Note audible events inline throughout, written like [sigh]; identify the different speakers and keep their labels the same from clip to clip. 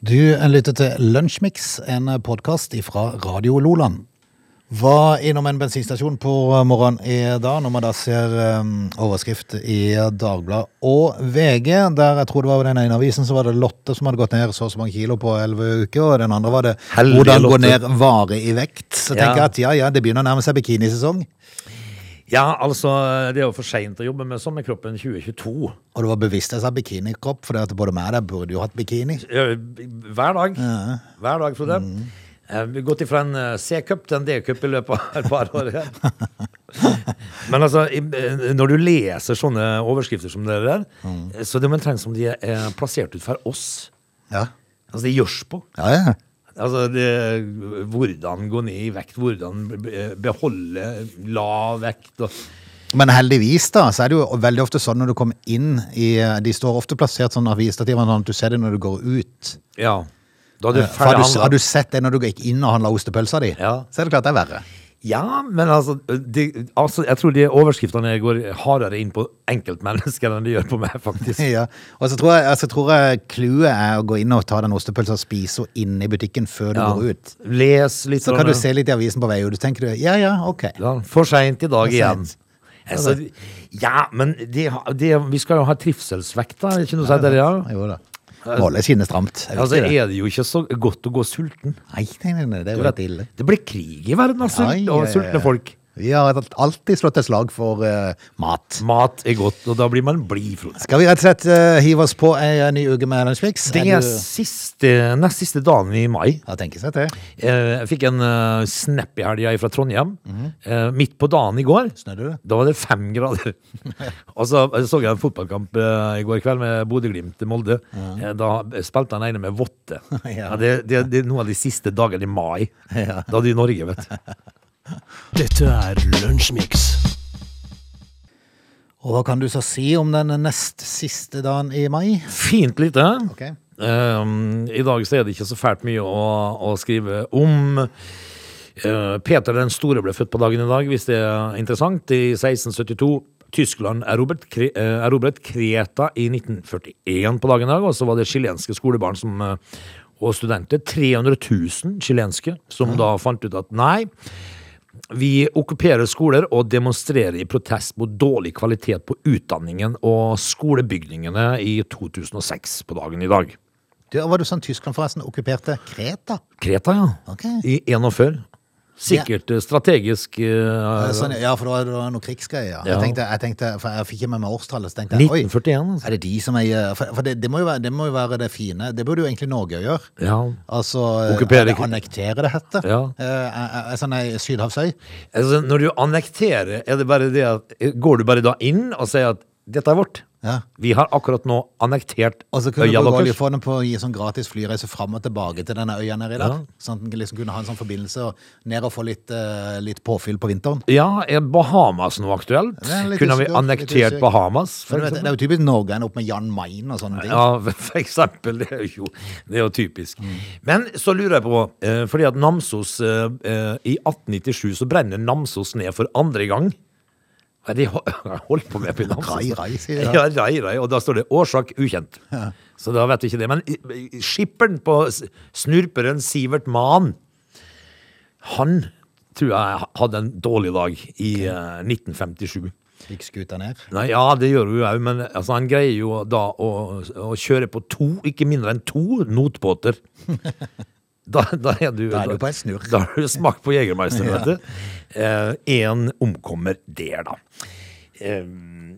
Speaker 1: Du lytter til Lunsjmix, en podkast fra Radio Loland. Var innom en bensinstasjon på morgenen i dag, når man da ser um, overskrift i Dagbladet og VG. Der jeg tror det var den ene avisen så var det Lotte som hadde gått ned så og så mange kilo på elleve uker. Og den andre var det
Speaker 2: Heldige
Speaker 1: 'Hvordan gå
Speaker 2: Lotte.
Speaker 1: ned vare i vekt'. Så
Speaker 2: Ja.
Speaker 1: tenker jeg at ja, ja, det begynner å nærme seg bikinisesong.
Speaker 2: Ja, altså, det er jo for seint å jobbe med sommerkroppen 2022.
Speaker 1: Og det var bevisst jeg sa bikinikropp, for det at både meg og deg burde jo hatt bikini.
Speaker 2: Eh, Hver dag. Hver dag, Frode.
Speaker 1: Mm.
Speaker 2: Eh, Vi har gått ifra en eh, C-cup til en D-cup i løpet av et par år.
Speaker 1: [laughs]
Speaker 2: her. Men altså, i- eh, når du leser sånne overskrifter som det der,
Speaker 1: Mm.
Speaker 2: eh, så det er omtrent som de er plassert ut for oss.
Speaker 1: Ja,
Speaker 2: Altså, det gjørs på.
Speaker 1: ja, ja.
Speaker 2: Altså, det, hvordan gå ned i vekt, hvordan be- beholde lav vekt. og...
Speaker 1: Men heldigvis da, så er det jo veldig ofte sånn når du kommer inn i eh, De står ofte plassert sånn avisstativer, sånn at du ser det når du går ut.
Speaker 2: Ja. Da er du
Speaker 1: Eh, for Har
Speaker 2: ferdig
Speaker 1: du,
Speaker 2: handlet.
Speaker 1: har du sett det når du gikk inn og handla ostepølsa di?
Speaker 2: Ja.
Speaker 1: Så er det klart det er verre. [laughs]
Speaker 2: Ja, men altså, de, altså Jeg tror de overskriftene går hardere inn på enkeltmennesker enn de gjør på meg,
Speaker 1: [laughs]
Speaker 2: faktisk.
Speaker 1: Ja. Og så tror jeg, altså, tror jeg clouet er å gå inn og ta den ostepølsa og spise henne inne i butikken før du
Speaker 2: Ja.
Speaker 1: går ut.
Speaker 2: Les litt
Speaker 1: Så kan du se litt i avisen på vei ut, og tenker du ja ja, ok.
Speaker 2: ja, For seint i dag
Speaker 1: For
Speaker 2: igjen.
Speaker 1: sent.
Speaker 2: Altså, ja, men det, har- det, vi skal jo ha trivselsvekta, er det ikke noe å si der, ja?
Speaker 1: Jo da. Målet skinner stramt. er
Speaker 2: Altså,
Speaker 1: viktig, det.
Speaker 2: er det jo ikke så godt å gå sulten.
Speaker 1: Nei, nei, nei, nei, det er
Speaker 2: Du
Speaker 1: jo
Speaker 2: vet,
Speaker 1: helt ille.
Speaker 2: det blir krig i verden av
Speaker 1: Ai,
Speaker 2: sult
Speaker 1: ai,
Speaker 2: og
Speaker 1: ai,
Speaker 2: sultne
Speaker 1: ai.
Speaker 2: folk.
Speaker 1: Vi har alltid slått et slag for eh, mat.
Speaker 2: Mat er godt, og da blir man blid, Frode.
Speaker 1: Skal vi rett og slett eh, hive oss på ei eh, ny uke med Lunsjmix?
Speaker 2: Det
Speaker 1: Er
Speaker 2: er
Speaker 1: du-
Speaker 2: siste, nest siste dagen i mai.
Speaker 1: Ja, tenker seg til.
Speaker 2: Eh, Jeg fikk en eh, snap i helga fra Trondheim. eh, midt på dagen i går.
Speaker 1: Snødde det?
Speaker 2: Da var det fem grader. og så eh, så jeg en fotballkamp eh, i går kveld med Bodø-Glimt til Molde. Eh, da spilte han ene med votte.
Speaker 1: Ja.
Speaker 2: ja. det, det, det er noen av de siste dagene i mai. Da er det i Norge, vet du.
Speaker 3: Dette er Lunsjmix.
Speaker 1: Og hva kan du så si om den nest siste dagen i mai?
Speaker 2: Fint lite.
Speaker 1: Ok.
Speaker 2: Um, I dag så er det ikke så fælt mye å, å skrive om. Eh, Peter den store ble født på dagen i dag, hvis det er interessant. I 1672. Tyskland erobret, Kre- eh, erobret Kreta i 1941 på dagen i dag. Og så var det chilenske skolebarn som, eh, og studenter. 300 000 chilenske som da fant ut at nei. Vi okkuperer skoler og demonstrerer i protest mot dårlig kvalitet på utdanningen og skolebygningene i 2006 på dagen i dag.
Speaker 1: Du, var du sånn Tyskland forresten okkuperte Kreta?
Speaker 2: Kreta, ja.
Speaker 1: Ok.
Speaker 2: I 41. Sikkert eh, strategisk eh,
Speaker 1: Eh, Sånn, ja, for det var, det var noe krigsgreier.
Speaker 2: Ja.
Speaker 1: Jeg tenkte, jeg tenkte, for jeg fikk ikke med meg årstallet, så tenkte jeg oi,
Speaker 2: 1941. Altså.
Speaker 1: er det de som er eh, For, for det, det, må jo være, det må jo være det fine. Det burde jo egentlig Norge gjøre.
Speaker 2: Ja.
Speaker 1: Altså
Speaker 2: Okkupere-
Speaker 1: eh, Annektere, det heter.
Speaker 2: Ja.
Speaker 1: Eh, eh, sånn ei sydhavsøy.
Speaker 2: Altså, når du annekterer, er det bare det at eh, Går du bare da inn og sier at dette er vårt?
Speaker 1: Ja.
Speaker 2: Vi har akkurat nå annektert
Speaker 1: Og så kunne
Speaker 2: øya
Speaker 1: du bruke
Speaker 2: deres.
Speaker 1: oljefondet på å gi sånn gratis flyreise fram og tilbake til denne øya nedi der.
Speaker 2: Ja.
Speaker 1: Sånn at en liksom kunne ha en sånn forbindelse og ned og få litt, eh, litt påfyll på vinteren.
Speaker 2: Ja, er Bahamas noe aktuelt?
Speaker 1: Det er litt
Speaker 2: Kunne vi
Speaker 1: usikker, litt
Speaker 2: annektert
Speaker 1: usikker.
Speaker 2: Bahamas? for
Speaker 1: Men du vet,
Speaker 2: eksempel?
Speaker 1: det er jo typisk Norge ender opp med Jan Mayen og sånne ting.
Speaker 2: Ja, [laughs] for eksempel. Det er jo, det er jo typisk.
Speaker 1: Mm.
Speaker 2: Men så lurer jeg på, eh, fordi at Namsos eh, eh, I 1897 så brenner Namsos ned for andre gang. Hva er det jeg ho- [laughs] jeg holdt på med på Namsos?
Speaker 1: Rai, rai, sier de da.
Speaker 2: Ja, rai, rai. Og da står det 'årsak ukjent'. Så da vet vi ikke det. Men i- i- skipperen på s- snurperen Sivert Mann, han tror jeg hadde en dårlig dag i eh, 1957.
Speaker 1: Fikk skuta ned.
Speaker 2: Nei, ja, det gjør hun jo òg, men altså, han greier jo da å, å kjøre på to, ikke mindre enn to
Speaker 1: [laughs]
Speaker 2: notbåter. Da, da er du
Speaker 1: Da er du på en snurr.
Speaker 2: Da har du smakt på Jegermeister, vet du. Én omkommer der, da. Eh,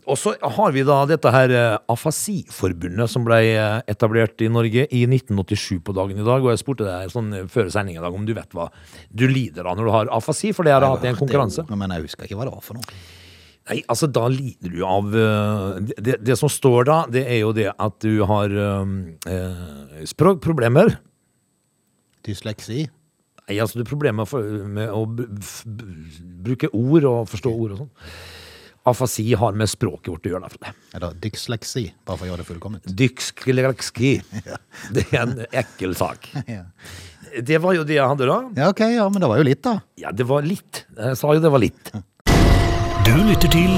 Speaker 2: og så har vi da dette her eh, Afasiforbundet som ble eh, etablert i Norge i 1987 på dagen i dag. Og jeg spurte deg sånn eh, før sending i dag om du vet hva du lider av når du har afasi, for det har jeg hatt i en konkurranse.
Speaker 1: Men jeg husker ikke hva det var for noe.
Speaker 2: Nei, altså da lider du av eh, det- det, det som står da, det er jo det at du har eh, eh, språkproblemer.
Speaker 1: Dysleksi.
Speaker 2: Nei, altså du har problemer for- med å b- f- b- bruke ord og forstå ord og sånn. Afasi har med språket vårt å gjøre, da, Frode.
Speaker 1: Eller dysleksi, bare for å gjøre det fullkomment.
Speaker 2: Dykskilakski. Det er en ekkel sak.
Speaker 1: [laughs] Ja.
Speaker 2: Det var jo det jeg hadde da.
Speaker 1: ja, ok, ja, men det var jo litt, da.
Speaker 2: Ja, det var litt. Jeg sa jo det var litt.
Speaker 3: Du lytter til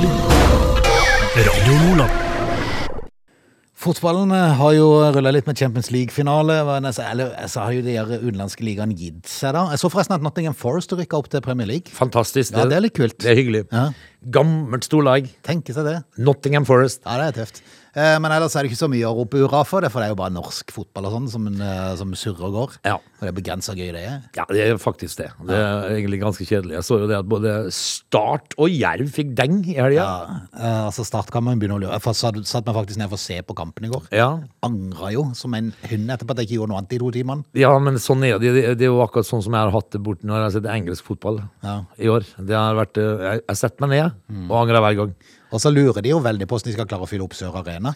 Speaker 3: Radio Lola.
Speaker 1: Fotballen eh, har jo rulla litt med Champions League-finale. men altså, Eller så har jo de her utenlandske ligaene gitt seg, da. Jeg så forresten at Nottingham Forest rykka opp til Premier League.
Speaker 2: Fantastisk.
Speaker 1: Ja, det er litt kult.
Speaker 2: Det er hyggelig.
Speaker 1: Ja.
Speaker 2: Gammelt storlag.
Speaker 1: Tenke seg det.
Speaker 2: Nottingham Forest.
Speaker 1: Ja, det er tøft. Eh, Men ellers er det ikke så mye å rope hurra for, det, for det er jo bare norsk fotball og sånn som, eh, som surrer og går.
Speaker 2: Ja.
Speaker 1: Og det er begrensa gøy, det er.
Speaker 2: Ja, det er faktisk det. Det er egentlig ganske kjedelig. Jeg så jo det at både Start og Jerv fikk deng i helga.
Speaker 1: Ja, eh, altså Startkampen begynner å lure. Jeg fa- satt satt meg faktisk ned for å se på kampen i går.
Speaker 2: Ja.
Speaker 1: Angra jo som en hund etterpå at jeg ikke gjorde noe annet i to timer.
Speaker 2: ja, men sånn er det. Det- Det er jo akkurat sånn som jeg har hatt det bort når jeg har sett engelsk fotball
Speaker 1: Ja.
Speaker 2: i år. Det har vært, eh, Jeg har sett meg ned
Speaker 1: Mm.
Speaker 2: og angrer hver gang.
Speaker 1: Og så lurer de jo veldig på hvordan de skal klare å fylle opp Sør Arena.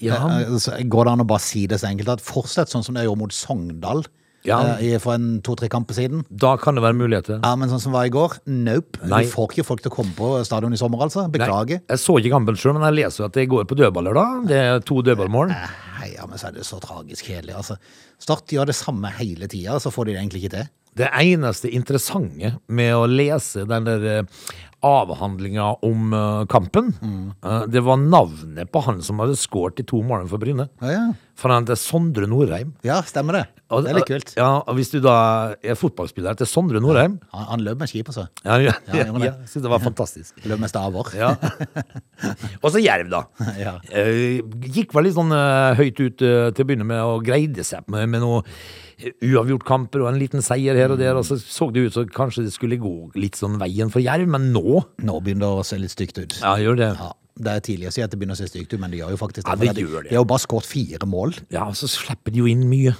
Speaker 2: Ja,
Speaker 1: Eh, eh, så Går det an å bare si det så enkelt at fortsett sånn som det gjorde mot Sogndal
Speaker 2: Ja.
Speaker 1: eh, i- for en to-tre kamper siden?
Speaker 2: da kan det være muligheter.
Speaker 1: Ja, men sånn som var i går? Nope.
Speaker 2: Nei.
Speaker 1: Du får ikke folk til å komme på stadion i sommer, altså.
Speaker 2: Nei,
Speaker 1: Beklager.
Speaker 2: Jeg så ikke kampen sjøl, men jeg leser jo at det går på dødballer, da. Det er to dødballmål.
Speaker 1: Nei, ja, men så er det så tragisk kjedelig, altså. Start gjør det samme hele tida, så får de det egentlig ikke til.
Speaker 2: Det eneste interessante med å lese den der eh, avhandlinga om eh, kampen,
Speaker 1: Mm.
Speaker 2: eh, det var navnet på han som hadde skåret de to målene for Bryne.
Speaker 1: Ja, ja.
Speaker 2: For han heter Sondre Norheim.
Speaker 1: ja stemmer det.
Speaker 2: Og-
Speaker 1: Det er litt kult.
Speaker 2: Ja, og Hvis du da er fotballspiller til Sondre Norheim
Speaker 1: Han, han løp med skip, altså.
Speaker 2: Ja, ja,
Speaker 1: Ja,
Speaker 2: ja,
Speaker 1: jeg må det.
Speaker 2: jeg synes det var fantastisk.
Speaker 1: Løp med staver.
Speaker 2: Ja. Og så Jerv, da.
Speaker 1: [laughs] Ja.
Speaker 2: Eh, Gikk vel litt sånn eh, høyt ut eh, til å begynne med og greide seg med, med noen uavgjortkamper og en liten seier her og der, og så så det ut som kanskje det skulle gå litt sånn veien for Jerv, men nå
Speaker 1: Nå begynner det å se litt stygt ut.
Speaker 2: Ja, gjør det.
Speaker 1: Ja, det er tidlig å si at det begynner å se stygt ut, men det gjør jo faktisk
Speaker 2: Ja,
Speaker 1: det. for
Speaker 2: det gjør det.
Speaker 1: De har jo bare skåret fire mål.
Speaker 2: Ja, så slipper de jo inn mye.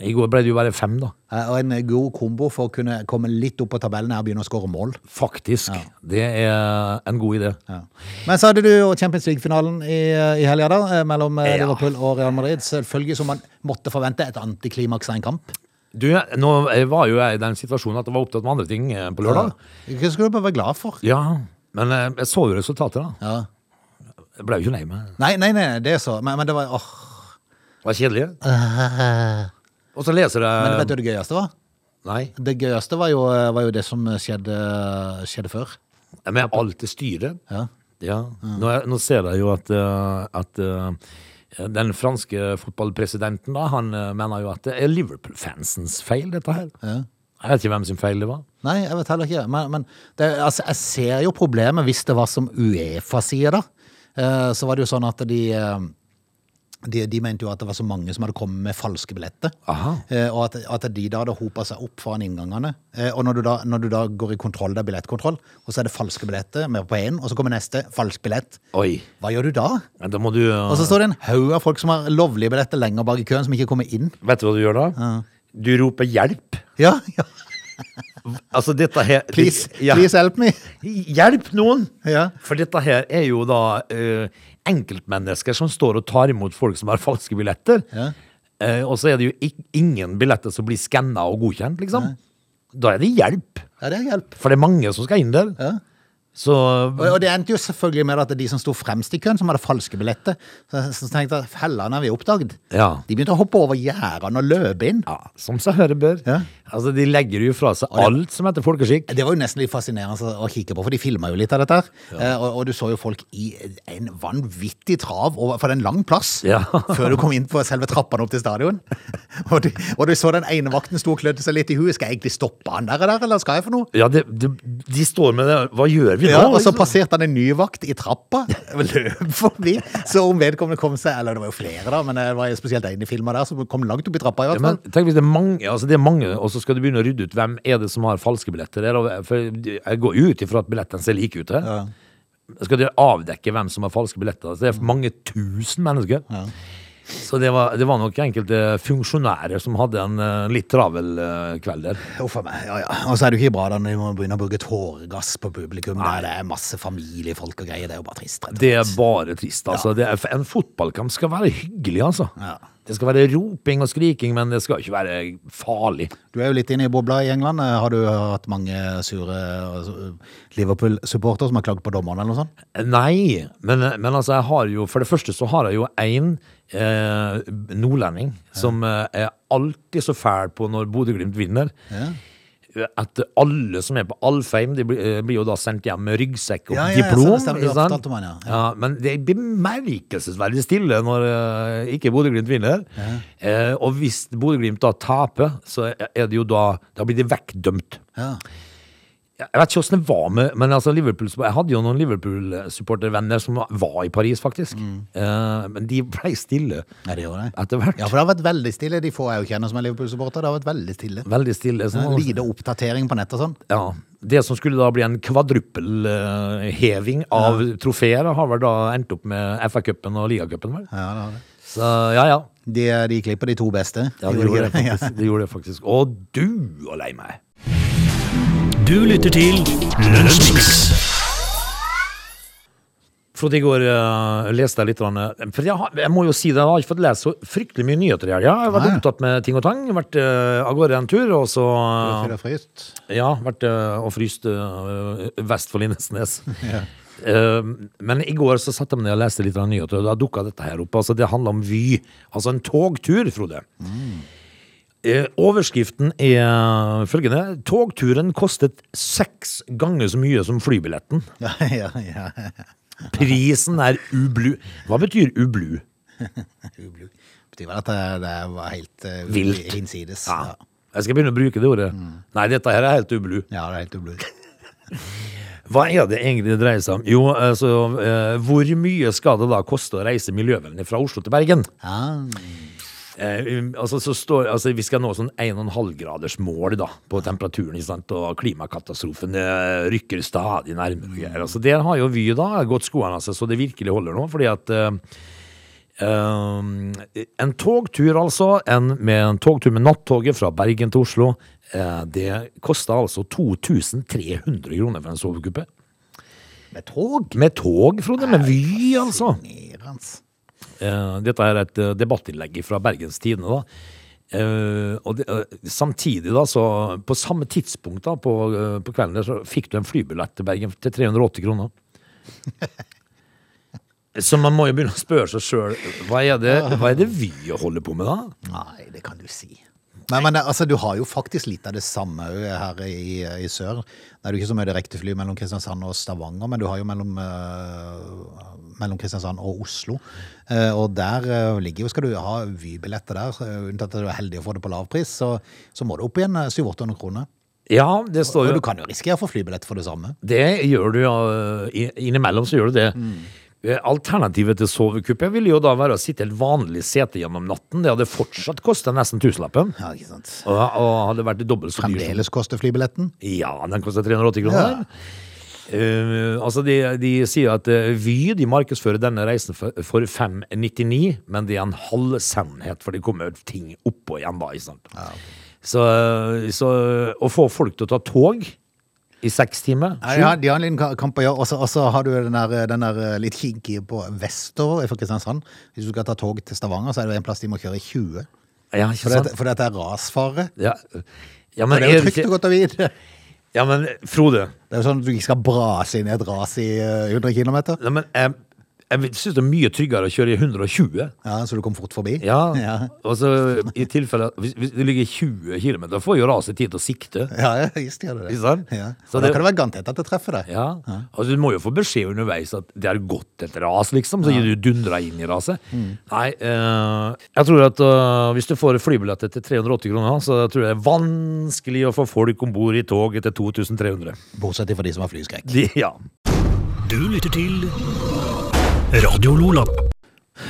Speaker 2: I går ble det jo bare fem, da.
Speaker 1: Eh, Og en god kombo for å kunne komme litt opp på tabellen er å begynne å skåre mål.
Speaker 2: Faktisk. Det er en god idé.
Speaker 1: Ja. Men så hadde du jo Champions League-finalen i, i helga, da. eh, Mellom eh,
Speaker 2: Ja.
Speaker 1: Liverpool og Real Madrid. Selvfølgelig som man måtte forvente. Et antiklimaks av en kamp.
Speaker 2: Du, nå eh, var jo jeg i den situasjonen at jeg var opptatt med andre ting eh, på lørdag.
Speaker 1: Hva skulle du bare være glad for?
Speaker 2: Ja, men eh, jeg så jo resultatet, da.
Speaker 1: Ja.
Speaker 2: Jeg ble jo ikke lei meg.
Speaker 1: Nei, nei, nei, det er så. Men, men det var åh.
Speaker 2: Det var kjedelig. Og så leser jeg
Speaker 1: Men vet du hva det gøyeste var?
Speaker 2: Nei.
Speaker 1: Det gøyeste var jo, eh, var jo det som skjedde, skjedde før.
Speaker 2: Men alt det styret
Speaker 1: Ja.
Speaker 2: Ja. Nå, er- nå ser jeg jo at, eh, at eh, den franske fotballpresidenten da, han eh, mener jo at det er Liverpool-fansens feil, dette her.
Speaker 1: Ja.
Speaker 2: Jeg vet ikke hvem sin feil det var.
Speaker 1: Nei, jeg vet heller ikke. Men, men det, altså, jeg ser jo problemet hvis det var som Uefa sier, da. Eh, Så var det jo sånn at de eh, de, de mente jo at det var så mange som hadde kommet med falske billetter.
Speaker 2: Aha.
Speaker 1: Eh, og at, at de da hadde hopa seg opp foran inngangene. Eh, og når du, da, når du da går i kontroll, det er billettkontroll, og så er det falske billetter med på én, og så kommer neste falsk billett.
Speaker 2: Oi,
Speaker 1: Hva gjør du da?
Speaker 2: men da må du eh,
Speaker 1: Og så står det en haug av folk som har lovlige billetter lenger bak i køen, som ikke kommer inn.
Speaker 2: Vet du hva du gjør da? Du roper hjelp.
Speaker 1: Ja, ja.
Speaker 2: Altså dette her
Speaker 1: Please,
Speaker 2: Ja.
Speaker 1: please help me!
Speaker 2: Hjelp noen!
Speaker 1: Ja.
Speaker 2: For dette her er jo da eh, enkeltmennesker som står og tar imot folk som har falske billetter.
Speaker 1: Ja.
Speaker 2: Eh, og så er det jo ik ingen billetter som blir skanna og godkjent, liksom. Da er det hjelp.
Speaker 1: Ja, det er hjelp.
Speaker 2: For det er mange som skal inn der.
Speaker 1: Ja.
Speaker 2: Så
Speaker 1: Og, og det endte jo selvfølgelig med at de som sto fremst i køen, som hadde falske billetter, så, så tenkte jeg fellene har vi oppdaget.
Speaker 2: Ja.
Speaker 1: De begynte å hoppe over gjerdene og løpe inn.
Speaker 2: ja, som seg høre bør.
Speaker 1: Ja.
Speaker 2: Altså, de legger jo fra seg alt som heter folkeskikk.
Speaker 1: Det var jo nesten litt fascinerende å kikke på, for de filma jo litt av dette. her. Eh, og, og du så jo folk i en vanvittig trav over, for det er en lang plass
Speaker 2: Ja.
Speaker 1: før du kom inn på selve trappene opp til stadion. [laughs] og, du, og du så den ene vakten sto og klødde seg litt i huet. Skal jeg egentlig stoppe han der, eller, eller skal jeg for noe?
Speaker 2: Ja, det, det, de står med det Hva gjør vi nå?
Speaker 1: Ja, og så
Speaker 2: liksom?
Speaker 1: [laughs] passerte han en ny vakt i trappa, løp [laughs] forbi. Så om vedkommende kom seg Eller det var jo flere, da, men det var jo spesielt en i filma der som kom langt opp i trappa. i
Speaker 2: Ja,
Speaker 1: hvert
Speaker 2: men
Speaker 1: fall.
Speaker 2: tenk hvis det er mange, altså det er mange og så skal du begynne å rydde ut hvem er det som har falske billetter. Der, og- for jeg går jo ut ifra at billettene ser like ut. her. Skal du avdekke hvem som har falske billetter? Altså, det er mange tusen mennesker. Så det var, det var nok enkelte funksjonærer som hadde en eh, litt travel eh, kveld der.
Speaker 1: Uff a meg. Ja, ja. Og så er det jo ikke bra da når de må begynne å bruke tåregass på publikum. Der det er masse familiefolk og greier. Det er jo bare trist. rett og
Speaker 2: Det er
Speaker 1: slett.
Speaker 2: bare trist, altså. Det er, en fotballkamp skal være hyggelig, altså.
Speaker 1: Ja.
Speaker 2: Det skal være roping og skriking, men det skal ikke være farlig.
Speaker 1: Du er jo litt inne i bobla i England. Eh, Har du hatt mange sure eh, Liverpool-supportere som har klagd på dommerne eller noe sånt?
Speaker 2: Nei, men, men altså jeg har jo For det første så har jeg jo en eh, nordlending som eh, er alltid så fæl på når Bodø-Glimt vinner. at alle som er på Alfheim, de blir, eh, blir jo da sendt hjem med ryggsekk og
Speaker 1: Ja, ja, ja,
Speaker 2: diplom.
Speaker 1: så det stemmer, du
Speaker 2: ikke
Speaker 1: har
Speaker 2: sant?
Speaker 1: fortalt om han, ja.
Speaker 2: Ja, men det er bemerkelsesverdig stille når eh, ikke Bodø-Glimt vinner. Eh, og hvis Bodø-Glimt da taper, så er det jo da Da blir de vekkdømt.
Speaker 1: Ja.
Speaker 2: Jeg vet ikke åssen det var med Men altså Liverpool, Jeg hadde jo noen Liverpool-supportervenner som var i Paris, faktisk. Eh, men de ble stille
Speaker 1: Nei, det gjorde det.
Speaker 2: etter hvert.
Speaker 1: Ja, for det har vært veldig stille. De få jeg jo kjenner som er Liverpool-supporter, det har vært veldig stille.
Speaker 2: Veldig stille. så-
Speaker 1: Lite oppdatering på nett og sånn.
Speaker 2: ja, det som skulle da bli en kvadruppelheving av trofeer, har vel da endt opp med FA-cupen og ligacupen, vel.
Speaker 1: Ja, det har det.
Speaker 2: Så ja, ja.
Speaker 1: De, de klipper de to beste.
Speaker 2: ja det,
Speaker 1: [laughs]
Speaker 2: gjorde det, [laughs] faktisk, det gjorde det faktisk. Og du og lei meg.
Speaker 3: Du lytter til Lunsjmix.
Speaker 2: Frode, i går eh, leste jeg litt grann, For jeg, har, jeg må jo si det, jeg har ikke fått lest så fryktelig mye nyheter i helga. Jeg har vært
Speaker 1: Nei.
Speaker 2: opptatt med ting og tang. Vært eh, av gårde en tur, og så eh,
Speaker 1: Fyller fryst.
Speaker 2: Ja, vært eh, og fryst eh, vest for Lindesnes. Eh, men i går så satte jeg meg ned og leste litt av nyheter, og da dukka dette her opp. Altså, det handler om Vy. Altså en togtur, Frode. Eh, overskriften er følgende. Togturen kostet seks ganger så mye som flybilletten.
Speaker 1: [laughs] Ja, ja, ja.
Speaker 2: Prisen er ublu. Hva betyr ublu?
Speaker 1: Ublu. Betyr vel at det, det var helt eh,
Speaker 2: Vilt.
Speaker 1: hinsides.
Speaker 2: Ja.
Speaker 1: Ja.
Speaker 2: Jeg skal begynne å bruke det ordet. Nei, dette her er helt ublu.
Speaker 1: ja, det er helt ublu.
Speaker 2: Hva er det egentlig det dreier seg om? Jo, altså, eh, hvor mye skal det da koste å reise miljøvennlig fra Oslo til Bergen?
Speaker 1: Ja,
Speaker 2: Eh, um, altså, så står, altså, vi skal nå sånn 1,5-graders mål da, på temperaturen, ikke sant? og klimakatastrofen eh, rykker stadig nærmere. og greier. Altså, der har jo Vy da gått skoene av seg, så det virkelig holder nå, fordi at eh, Um, en togtur altså en, med en togtur med nattoget fra Bergen til Oslo eh, det koster altså 2300 kroner for en sovekuppe
Speaker 1: med tog.
Speaker 2: med tog, Frode, med Vy altså
Speaker 1: Nerans.
Speaker 2: Eh, dette er et eh, debattinnlegg fra Bergens Tidende. da. Eh, og det, eh, samtidig, da, så på samme tidspunkt da, på, eh, på kvelden, der, så fikk du en flybillett til Bergen til 380 kroner. Så man må jo begynne å spørre seg sjøl hva, er det- hva er det Vy holder på med, da?
Speaker 1: Nei, det kan du si. Nei, men det, altså, du har jo faktisk litt av det samme ø, her i, i sør. Det er jo ikke så mye direktefly mellom Kristiansand og Stavanger, men du har jo mellom, ø, mellom Kristiansand og Oslo. Eh, og der ø, ligger jo, skal du ha Vy-billetter der, ø, unntatt at du er heldig å få det på lavpris, så, så må du opp igjen eh, ø, 700-800 kroner.
Speaker 2: Ja, det står
Speaker 1: Og
Speaker 2: jo
Speaker 1: du kan jo risikere å få flybillett for det samme.
Speaker 2: Det gjør du, ja. I- Innimellom så gjør du det. Eh, Alternativet til sovekuppe ville jo da være å sitte i et vanlig sete gjennom natten. Det hadde fortsatt kosta nesten tusenlappen.
Speaker 1: Ja, ikke sant?
Speaker 2: Og, og hadde vært dobbelt så dyr. som-
Speaker 1: Fremdeles koster flybilletten.
Speaker 2: Ja, den koster 380 kroner. Eh, altså de, de sier at eh, Vy de markedsfører denne reisen for, for 599, men det er en halv sannhet, for det kommer ting oppå igjen da. Ikke sant? Så, eh, så å få folk til å ta tog i seks timer
Speaker 1: Nei, ja, de har en liten ka- kamp å gjøre, og så- og så har du den der, den der litt kinky på vestover fra Kristiansand. Hvis du skal ta tog til Stavanger, så er det en plass de må kjøre i 20.
Speaker 2: Ja, ikke
Speaker 1: For
Speaker 2: sant?
Speaker 1: det, for det er rasfare.
Speaker 2: Ja, ja,
Speaker 1: For
Speaker 2: men,
Speaker 1: det er jo
Speaker 2: er det
Speaker 1: trygt og
Speaker 2: ikke,
Speaker 1: godt å vite.
Speaker 2: ja, men Frode
Speaker 1: Det er jo sånn at du ikke skal brase inn i et ras i eh, 100 km.
Speaker 2: ja, men, jeg, jeg syns det er mye tryggere å kjøre i 120.
Speaker 1: Ja, så du kom fort forbi.
Speaker 2: Ja,
Speaker 1: Ja,
Speaker 2: og så i tilfelle Hvis, hvis det ligger 20 km, da får jo raset tid til å sikte.
Speaker 1: ja ja, visst gjør det det.
Speaker 2: Ikke sant?
Speaker 1: Ja.
Speaker 2: Så
Speaker 1: Og da
Speaker 2: det-
Speaker 1: kan det være garantert at det treffer deg.
Speaker 2: Ja, altså Du må jo få beskjed underveis at det er gått et ras, liksom. Så du dundra inn i raset.
Speaker 1: Mm.
Speaker 2: Nei, eh, jeg tror at eh, hvis du får flybilletter til 380 kroner, så tror jeg det er vanskelig å få folk om bord i tog etter 2300.
Speaker 1: Bortsett fra de som har flyskrekk.
Speaker 2: De, ja.
Speaker 3: Du lytter til Radio Lola.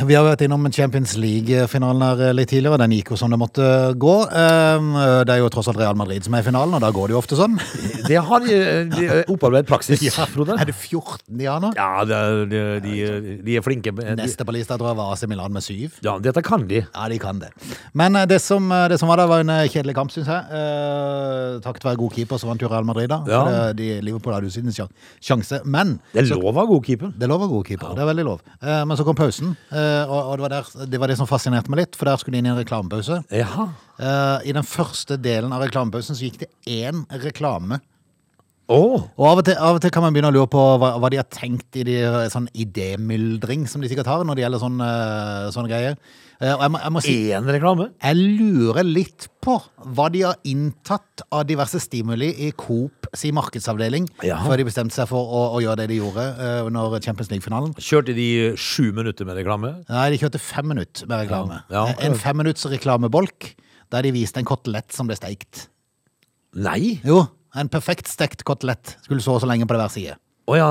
Speaker 1: Vi har vært innom Champions League-finalen her eh, litt tidligere. Den gikk jo som det måtte eh, gå. Um, Det er jo tross alt Real Madrid som er i finalen, og da går det jo ofte
Speaker 2: [laughs]
Speaker 1: sånn.
Speaker 2: Det har eh, de, eh, opparbeidet praksis, Frode.
Speaker 1: Er det 14 de har nå?
Speaker 2: Ja, det er, de, de, de er flinke. De,
Speaker 1: Neste på lista tror jeg var AC Milan med syv.
Speaker 2: ja, dette kan de.
Speaker 1: Ja, de kan det. Men eh, det som, eh, det som var der, var en eh, kjedelig kamp, syns jeg. Eh, takket være god keeper så vant jo Real Madrid, da.
Speaker 2: Ja.
Speaker 1: For det- De, Liverpool hadde jo sin sjan- sjanse. Men
Speaker 2: Det er lov av god keeper.
Speaker 1: det er lov å være god keeper. Det er veldig lov. Eh, men så kom pausen, eh, og, og det, var der, det var det som fascinerte meg litt, for der skulle de inn i en reklamepause.
Speaker 2: Ja.
Speaker 1: Eh, I den første delen av reklamepausen så gikk det én reklame.
Speaker 2: Å!
Speaker 1: Og av og, til, av og til kan man begynne å lure på hva, hva de har tenkt i de, sånn idémyldring som de sikkert har når det gjelder sånn, eh, sånne greier. Eh, Og jeg må, jeg må si
Speaker 2: Én reklame?
Speaker 1: jeg lurer litt på hva de har inntatt av diverse stimuli i Coop si markedsavdeling
Speaker 2: Ja.
Speaker 1: før de bestemte seg for å, å gjøre det de gjorde eh, under Champions League-finalen.
Speaker 2: Kjørte de sju minutter med reklame?
Speaker 1: Nei, de kjørte fem minutter med reklame.
Speaker 2: Ja. Ja.
Speaker 1: En femminutts reklamebolk der de viste en kotelett som ble steikt.
Speaker 2: Nei!
Speaker 1: Jo, en perfekt stekt kotelett skulle så og så lenge på hver side.
Speaker 2: Å ja,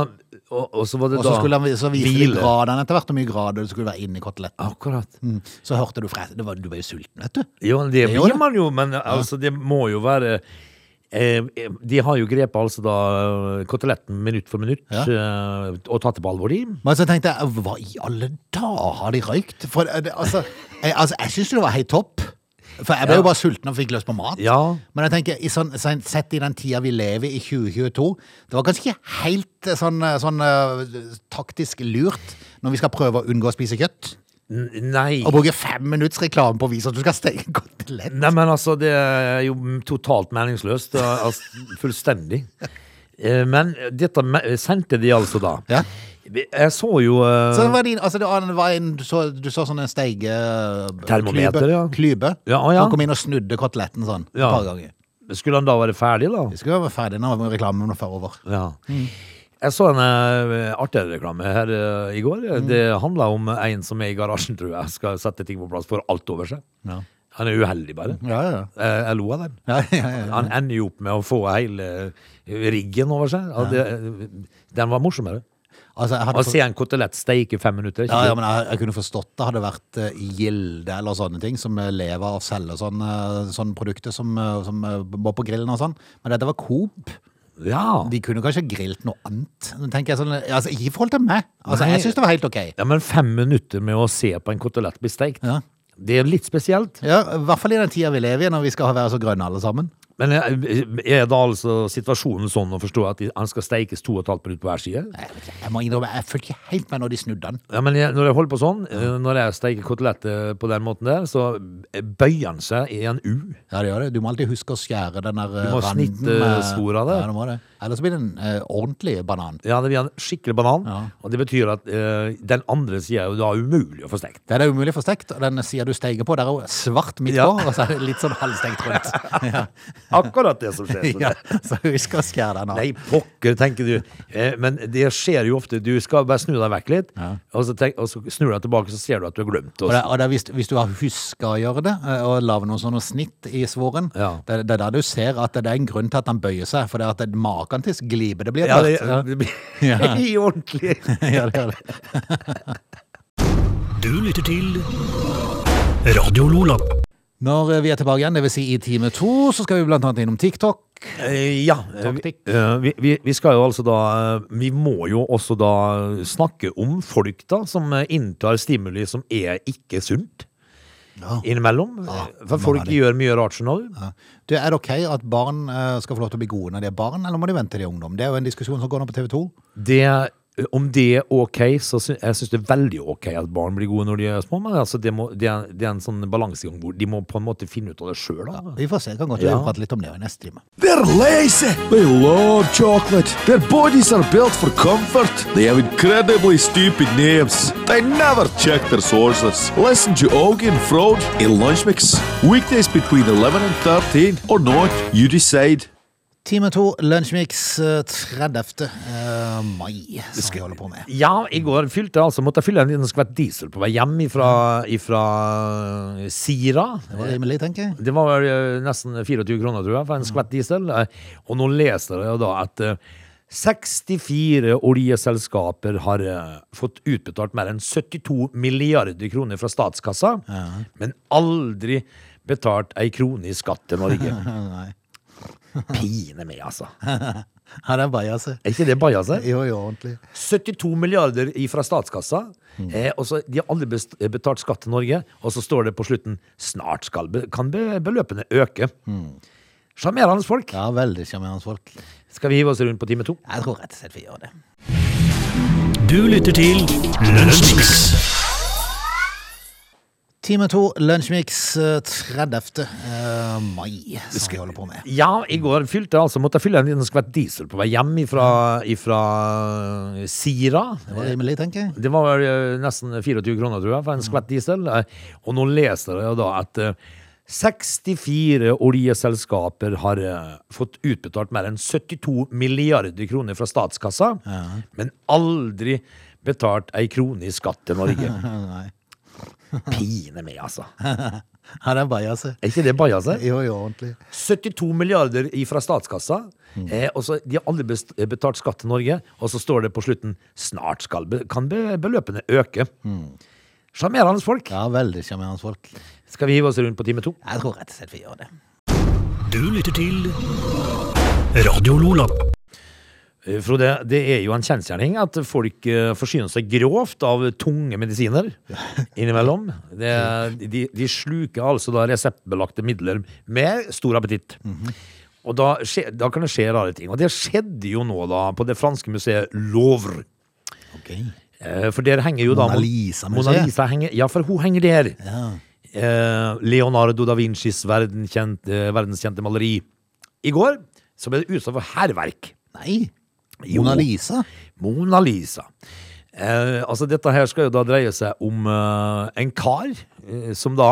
Speaker 2: og, og så var det
Speaker 1: Og så,
Speaker 2: da
Speaker 1: skulle han, så viste de
Speaker 2: hvile.
Speaker 1: gradene etter hvert, hvor mye grader det skulle være inni koteletten.
Speaker 2: Akkurat.
Speaker 1: Mm. Så hørte du fra, det var, du ble jo sulten, vet du.
Speaker 2: Jo, det
Speaker 1: gjorde
Speaker 2: blir
Speaker 1: det.
Speaker 2: man jo, men altså, det må jo være eh, De har jo grepet altså da eh, koteletten minutt for minutt
Speaker 1: Ja.
Speaker 2: eh, og tatt det på alvor, de.
Speaker 1: Men så tenkte jeg, hva i alle dager har de røykt? For eh, det, altså, jeg, altså, jeg synes jo det var helt topp. For jeg ble
Speaker 2: Ja.
Speaker 1: jo bare sulten og fikk løs på mat.
Speaker 2: Ja.
Speaker 1: Men jeg tenker, i sånn, sånn, sett i den tida vi lever i 2022, det var kanskje ikke helt eh, sånn, eh, sånn eh, taktisk lurt når vi skal prøve å unngå å spise kjøtt.
Speaker 2: N nei.
Speaker 1: Og bruke fem minutts reklame på å vise at du skal steke en kotelett.
Speaker 2: Nei, men altså, det er jo totalt meningsløst. Det er, Altså, fullstendig.
Speaker 1: [laughs]
Speaker 2: Eh, Men dette me- sendte de altså da.
Speaker 1: Ja.
Speaker 2: Jeg så jo eh,
Speaker 1: Så det var din, altså det var en, var en, du så, du så sånn en steige...
Speaker 2: Termometer,
Speaker 1: klype,
Speaker 2: ja.
Speaker 1: Klype.
Speaker 2: Ja, å ja.
Speaker 1: Han kom inn og snudde koteletten sånn,
Speaker 2: Ja.
Speaker 1: et par ganger.
Speaker 2: Skulle han da være ferdig, da?
Speaker 1: Vi skulle være ferdig nå, men reklamen var over.
Speaker 2: Ja.
Speaker 1: Mm.
Speaker 2: Jeg så en eh, artigere reklame her eh, i går.
Speaker 1: Mm.
Speaker 2: Det handla om en som er i garasjen, tror jeg, skal sette ting på plass, får alt over seg.
Speaker 1: Ja,
Speaker 2: Han er uheldig, bare.
Speaker 1: ja, ja.
Speaker 2: Eh, Jeg lo av den.
Speaker 1: ja, ja, ja.
Speaker 2: Han ender jo opp med å få hele eh, riggen over seg. Ja, det, eh, den var morsommere.
Speaker 1: Altså, jeg hadde
Speaker 2: Å
Speaker 1: for-
Speaker 2: se en kotelett steike i fem minutter. er ikke
Speaker 1: Ja, ja,
Speaker 2: det?
Speaker 1: men jeg, jeg kunne forstått det hadde det vært eh, Gilde eller sånne ting som eh, lever av å selge sånne, sånne produkter som, eh, som eh, må på grillen og sånn. Men dette var Coop.
Speaker 2: ja.
Speaker 1: De kunne kanskje grillet noe annet. Men tenker jeg sånn, altså, Ikke i forhold til meg. Altså,
Speaker 2: Nei.
Speaker 1: Jeg syns det var helt ok.
Speaker 2: Ja, men fem minutter med å se på en kotelett bli steikt,
Speaker 1: Ja.
Speaker 2: det er litt spesielt.
Speaker 1: Ja, I hvert fall i den tida vi lever i, når vi skal være så grønne alle sammen.
Speaker 2: Men er er da altså situasjonen sånn å forstå at de- han skal steikes to og et halvt minutt på hver side?
Speaker 1: Jeg, vet ikke, jeg må innrømme, jeg følte ikke helt med når de snudde den.
Speaker 2: Ja, men jeg, når jeg holder på sånn, eh, når jeg steiker koteletter på den måten der, så eh, bøyer han seg i en U.
Speaker 1: Ja, det gjør det. Du må alltid huske å skjære den der eh,
Speaker 2: Du må
Speaker 1: randen.
Speaker 2: snitte
Speaker 1: med-
Speaker 2: sporet av det.
Speaker 1: Ja, du må det. Ellers blir det en eh, ordentlig banan.
Speaker 2: Ja, det blir en skikkelig banan,
Speaker 1: Ja.
Speaker 2: og det betyr at eh, den andre sida er jo da umulig å få steikt.
Speaker 1: Det er det umulig for stekt, og den sida du steiker på, der er jo svart midt på,
Speaker 2: Ja.
Speaker 1: og så er det litt sånn halvstengt
Speaker 2: [laughs]
Speaker 1: rundt. Ja.
Speaker 2: Akkurat
Speaker 1: [laughs]
Speaker 2: det som skjer.
Speaker 1: ja, så husk å skjære den av.
Speaker 2: Nei, pokker, tenker du. Eh, men det skjer jo ofte. Du skal bare snu deg vekk litt, og, så tenk, og så snur du deg tilbake, så ser du at du har glemt
Speaker 1: Og
Speaker 2: oss.
Speaker 1: det, og det er hvis, hvis du har huska å gjøre det, eh, og lage noen sånne snitt i svoren,
Speaker 2: Ja.
Speaker 1: det, det er da du ser at det er en grunn til at han bøyer seg, for det er at det- maken til glipe det blir.
Speaker 2: Ja,
Speaker 1: etter
Speaker 2: det,
Speaker 1: hvert.
Speaker 2: det blir [laughs]
Speaker 1: Ja.
Speaker 2: i ordentlig.
Speaker 1: [laughs] ja, det gjør det.
Speaker 3: Du lytter til Radio Lola.
Speaker 1: Når eh, vi er tilbake igjen, dvs. Si i time to, så skal vi blant annet innom TikTok.
Speaker 2: Eh, Ja.
Speaker 1: Taktikk.
Speaker 2: Vi, eh, vi, vi- vi skal jo altså da eh, Vi må jo også da snakke om folk da som eh, inntar stimuli som er ikke sunt.
Speaker 1: Ja.
Speaker 2: Innimellom. Eh,
Speaker 1: Ja,
Speaker 2: For
Speaker 1: mange
Speaker 2: folk
Speaker 1: av de.
Speaker 2: gjør mye rart sånn òg.
Speaker 1: Ja. Du, er det ok at barn eh, skal få lov til å bli gode når de er barn, eller må de vente til de er ungdom? Det er jo en diskusjon som går nå på TV 2.
Speaker 2: det, eh, om det er ok, så sy jeg synes det er veldig ok at barn blir gode når de er små, men altså det, må, det, er, det er en sånn balansegang hvor de må på en måte finne ut av det sjøl. da.
Speaker 1: Vi får se. Kan godt
Speaker 2: Ja.
Speaker 1: vi prate litt om det i neste time.
Speaker 4: They're lazy. They love chocolate. Their bodies are built for comfort. They have incredibly stupid names. They never check their sources. Listen to Augie and Frode in Lunch Mix. Weekdays between 11 and 13 or not, you decide.
Speaker 1: Time to, Lunsjmix eh, 30. eh, mai, som vi holder på med.
Speaker 2: Ja, i går fylte jeg altså, måtte jeg fylle en liten skvett diesel på vei hjem ifra, ifra Sira.
Speaker 1: Det var rimelig, tenker jeg.
Speaker 2: Det var vel eh, nesten 24 kroner, tror jeg, for en skvett diesel. Eh, Og nå leser jeg jo da at eh, 64 oljeselskaper har eh, fått utbetalt mer enn 72 milliarder kroner fra statskassa, men aldri betalt ei krone i skatt til Norge.
Speaker 1: Nei.
Speaker 2: Pine meg, altså.
Speaker 1: Ja, det er altså. bajas.
Speaker 2: Er ikke det bajaset?
Speaker 1: Jo, jo, ordentlig.
Speaker 2: 72 milliarder fra statskassa. Eh, og så De har aldri best- betalt skatt til Norge, og så står det på slutten snart skal be, kan be, beløpene øke. Sjarmerende folk.
Speaker 1: Ja, veldig sjarmerende folk.
Speaker 2: Skal vi hive oss rundt på time to?
Speaker 1: Jeg tror rett og slett vi gjør det.
Speaker 3: Du lytter til Lunsjmix.
Speaker 1: Time to, Lunsjmix eh, 30. eh, mai, som vi holder på med.
Speaker 2: Ja, i går fylte jeg altså, måtte jeg fylle en liten skvett diesel på vei hjem ifra, ifra Sira.
Speaker 1: Det var rimelig, tenker jeg.
Speaker 2: Det var eh, nesten 24 kroner, tror jeg, for en skvett diesel. Eh, Og nå leser jeg da at eh, 64 oljeselskaper har eh, fått utbetalt mer enn 72 milliarder kroner fra statskassa, men aldri betalt ei krone i skatt til Norge.
Speaker 1: Nei.
Speaker 2: Pine meg, altså.
Speaker 1: Ja, det er altså. bajaset.
Speaker 2: Er ikke det eh? bajaset?
Speaker 1: Jo, jo, ordentlig.
Speaker 2: 72 milliarder fra statskassa. Eh, og så, de har aldri best- eh, betalt skatt til Norge. Og så står det på slutten snart skal be, kan be, beløpene øke. Sjarmerende folk.
Speaker 1: Ja, veldig sjarmerende folk.
Speaker 2: Skal vi hive oss rundt på time to?
Speaker 1: Jeg tror rett og slett vi gjør det.
Speaker 3: Du lytter til Radio Lola.
Speaker 2: Eh, Frode, det er jo en kjensgjerning at folk eh, forsyner seg grovt av tunge medisiner innimellom. Det, de, de sluker altså da reseptbelagte midler med stor appetitt. Og da, skje, da kan det skje rare ting. Og det skjedde jo nå da på det franske museet Louvre.
Speaker 1: Ok.
Speaker 2: Eh, For der henger jo da
Speaker 1: Mona Lisa-museet.
Speaker 2: Mona Lisa henger, ja, for hun henger der.
Speaker 1: Ja.
Speaker 2: Eh, Leonardo da Vincis verdenskjente, eh, verdenskjente maleri. I går så ble det utsatt for hærverk.
Speaker 1: Nei,
Speaker 2: Jo.
Speaker 1: Mona Lisa.
Speaker 2: Mona Lisa. Eh, altså Dette her skal jo da dreie seg om eh, en kar eh, som da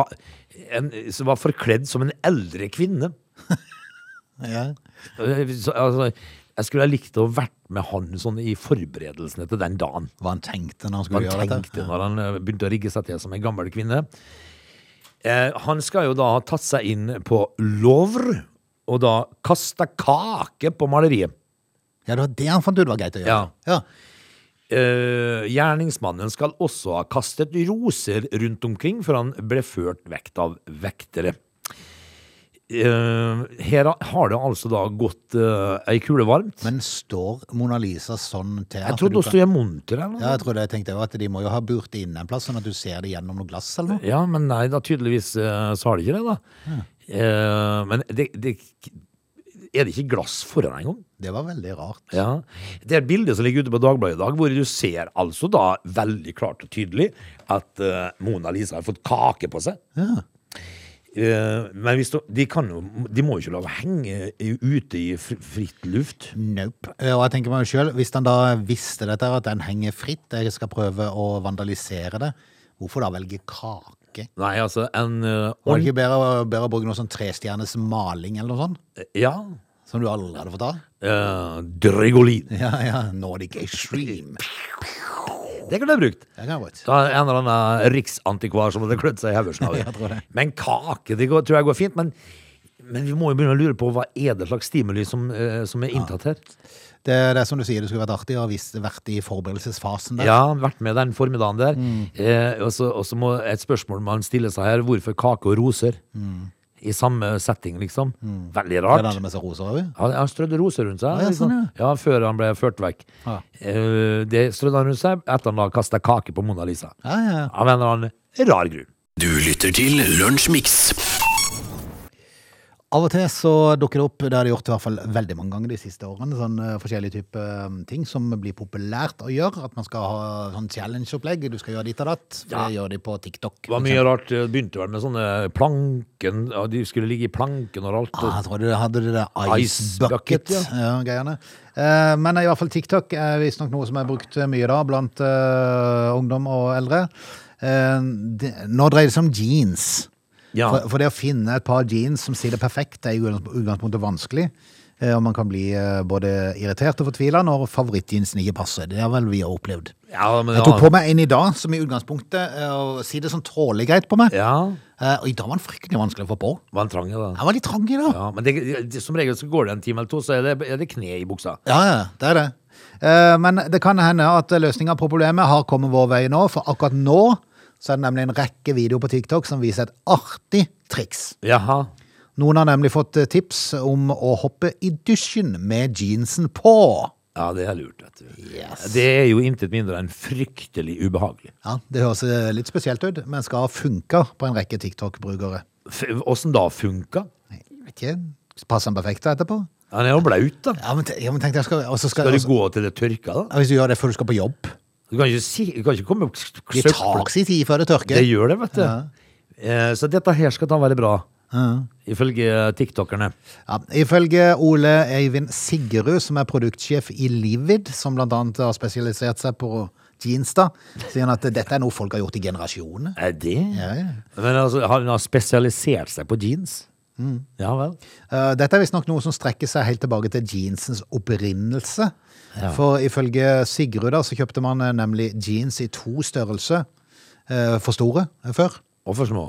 Speaker 2: en, som var forkledd som en eldre kvinne.
Speaker 1: Ja.
Speaker 2: Eh, så, altså, jeg skulle ha likt å vært med han sånn i forberedelsene til den dagen.
Speaker 1: Hva han tenkte når han
Speaker 2: Hva
Speaker 1: skulle
Speaker 2: han
Speaker 1: gjøre
Speaker 2: tenkte
Speaker 1: dette.
Speaker 2: når han eh, begynte å rigge seg til som en gammel kvinne. Eh, han skal jo da ha tatt seg inn på Louvre, og da kasta kake på maleriet.
Speaker 1: Ja, det var det han fant ut var greit å gjøre.
Speaker 2: Ja.
Speaker 1: ja.
Speaker 2: Eh, gjerningsmannen skal også ha kastet roser rundt omkring før han ble ført vekt av vektere. Eh, her har det altså da gått eh, ei kule varmt.
Speaker 1: Men står Mona Lisa sånn til? at
Speaker 2: jeg trodde
Speaker 1: du
Speaker 2: hun stod i en monter eller noe.
Speaker 1: Ja, jeg trodde jeg tenkte jo at de må jo ha burt inn en plass, sånn at du ser det gjennom noe glass eller noe.
Speaker 2: [laughs] Ja, men nei, da tydeligvis eh, så har de ikke det, da. Eh, men det, det Er det ikke glass foran engang?
Speaker 1: Det var veldig rart.
Speaker 2: Ja. Det er et bilde som ligger ute på Dagbladet i dag, hvor du ser altså da veldig klart og tydelig at eh, Mona Lisa har fått kake på seg. Eh, men hvis du, de, kan jo, de må jo ikke la det henge i- ute i fri- fritt luft.
Speaker 1: Nope. Eh, Og jeg tenker meg jo selv, hvis han da visste dette, her, at den henger fritt, jeg skal prøve å vandalisere det, hvorfor da velge kake?
Speaker 2: Nei, altså en eh,
Speaker 1: Var
Speaker 2: ordn-
Speaker 1: det ikke bedre, bedre å bruke noe sånn trestjernes maling eller noe sånt?
Speaker 2: Ja.
Speaker 1: Som du aldri hadde fått av?
Speaker 2: eh, Drygolin.
Speaker 1: [laughs] Ja, ja, Nordic [laughs] Extreme.
Speaker 2: Det kunne jeg brukt.
Speaker 1: Det kan jeg godt.
Speaker 2: Da er en eller annen riksantikvar som hadde klødd seg i haugen
Speaker 1: [laughs]
Speaker 2: av
Speaker 1: Jeg tror
Speaker 2: det.
Speaker 1: det.
Speaker 2: Men kake, det går, tror jeg går fint. Men, men vi må jo begynne å lure på hva er det slags stimuli som, eh, som er inntatt her.
Speaker 1: Det, det er som du sier, det skulle vært artig å ha visst- vært i forberedelsesfasen der.
Speaker 2: Ja, vært med den formiddagen der.
Speaker 1: Mm.
Speaker 2: Eh, og så- og så må et spørsmål man stiller seg her, hvorfor kake og roser? I samme setting, liksom. Veldig
Speaker 1: Mm. Det er
Speaker 2: rart.
Speaker 1: det med seg roser også.
Speaker 2: Han, han strødde roser rundt seg.
Speaker 1: ja,
Speaker 2: liksom.
Speaker 1: sånn,
Speaker 2: ja, Før han ble ført vekk.
Speaker 1: Ja.
Speaker 2: Eh, det strødde han rundt seg etter han da kasta kake på Mona Lisa.
Speaker 1: Ja, ja, ja.
Speaker 2: Av en eller annen rar grunn.
Speaker 3: Du lytter til Lunsjmix.
Speaker 1: Av og til så dukker det opp, det har det gjort i hvert fall veldig mange ganger de siste årene, sånn eh, forskjellige typer eh, ting som blir populært å gjøre. At man skal ha sånn challenge-opplegg, du skal gjøre ditt og datt. for
Speaker 2: Ja.
Speaker 1: Det gjør de på TikTok.
Speaker 2: Det var
Speaker 1: for
Speaker 2: mye rart. Det Begynte vel med sånne planken ja, De skulle ligge i planken og alt.
Speaker 1: eksempel. Ah, jeg tror du hadde det der ice
Speaker 2: Ice bucket,
Speaker 1: bucket,
Speaker 2: ja.
Speaker 1: ja, greiene. Eh, Men i hvert fall TikTok er visstnok noe som er brukt mye da, blant eh, ungdom og eldre. Eh, det, nå dreier det seg om jeans.
Speaker 2: Ja.
Speaker 1: For, for det å finne et par jeans som sitter perfekt, er i utgangspunktet vanskelig. eh, Og man kan bli eh, både irritert og fortvila når favorittjeansen ikke passer. Det har vel vi har opplevd.
Speaker 2: Ja, men
Speaker 1: Jeg tok på meg en i dag som i utgangspunktet eh, og sitter sånn tålelig greit på meg.
Speaker 2: Ja,
Speaker 1: Eh, Og i dag var den fryktelig vanskelig å få på.
Speaker 2: var en trang i det.
Speaker 1: Den var litt trang i dag.
Speaker 2: Ja, men det, det, som regel så går det en time eller to, så er det, er det kne i buksa.
Speaker 1: Ja, ja, det er det. Eh, Men det kan hende at løsninga på problemet har kommet vår vei nå, for akkurat nå så er det nemlig en rekke videoer på TikTok som viser et artig triks.
Speaker 2: Jaha.
Speaker 1: Noen har nemlig fått eh, tips om å hoppe i dusjen med jeansen på.
Speaker 2: Ja, det er lurt, vet du.
Speaker 1: Yes.
Speaker 2: Det er jo intet mindre enn fryktelig ubehagelig.
Speaker 1: Ja, Det høres eh, litt spesielt ut, men skal funke på en rekke TikTok-brukere.
Speaker 2: F- Åssen da funka?
Speaker 1: Jeg vet ikke, Passer den perfekt da etterpå?
Speaker 2: Han er jo blaut, da.
Speaker 1: Ja, men, te- ja, men tenk deg, jeg skal, og så skal,
Speaker 2: Skal du
Speaker 1: også,
Speaker 2: gå til det tørka, da?
Speaker 1: ja, Hvis du gjør det før du skal på jobb
Speaker 2: Du kan ikke, si, du kan ikke komme og
Speaker 1: Det tar sin tid før det tørker.
Speaker 2: Det gjør det, vet du. Eh, Så dette her skal da være bra, ifølge tiktokerne.
Speaker 1: Ja, ifølge Ole Øyvind Siggerud, som er produktsjef i Livid, som blant annet har spesialisert seg på jeans, da, sier han at dette er noe folk har gjort i generasjoner.
Speaker 2: Er det?
Speaker 1: Ja, ja.
Speaker 2: Men altså, han har spesialisert seg på jeans.
Speaker 1: Mm.
Speaker 2: Ja vel.
Speaker 1: Eh, Dette er visstnok noe som strekker seg helt tilbake til jeansens opprinnelse. For ifølge Sigrud da, så kjøpte man eh, nemlig jeans i to størrelser. eh, For store eh, før.
Speaker 2: Og for små.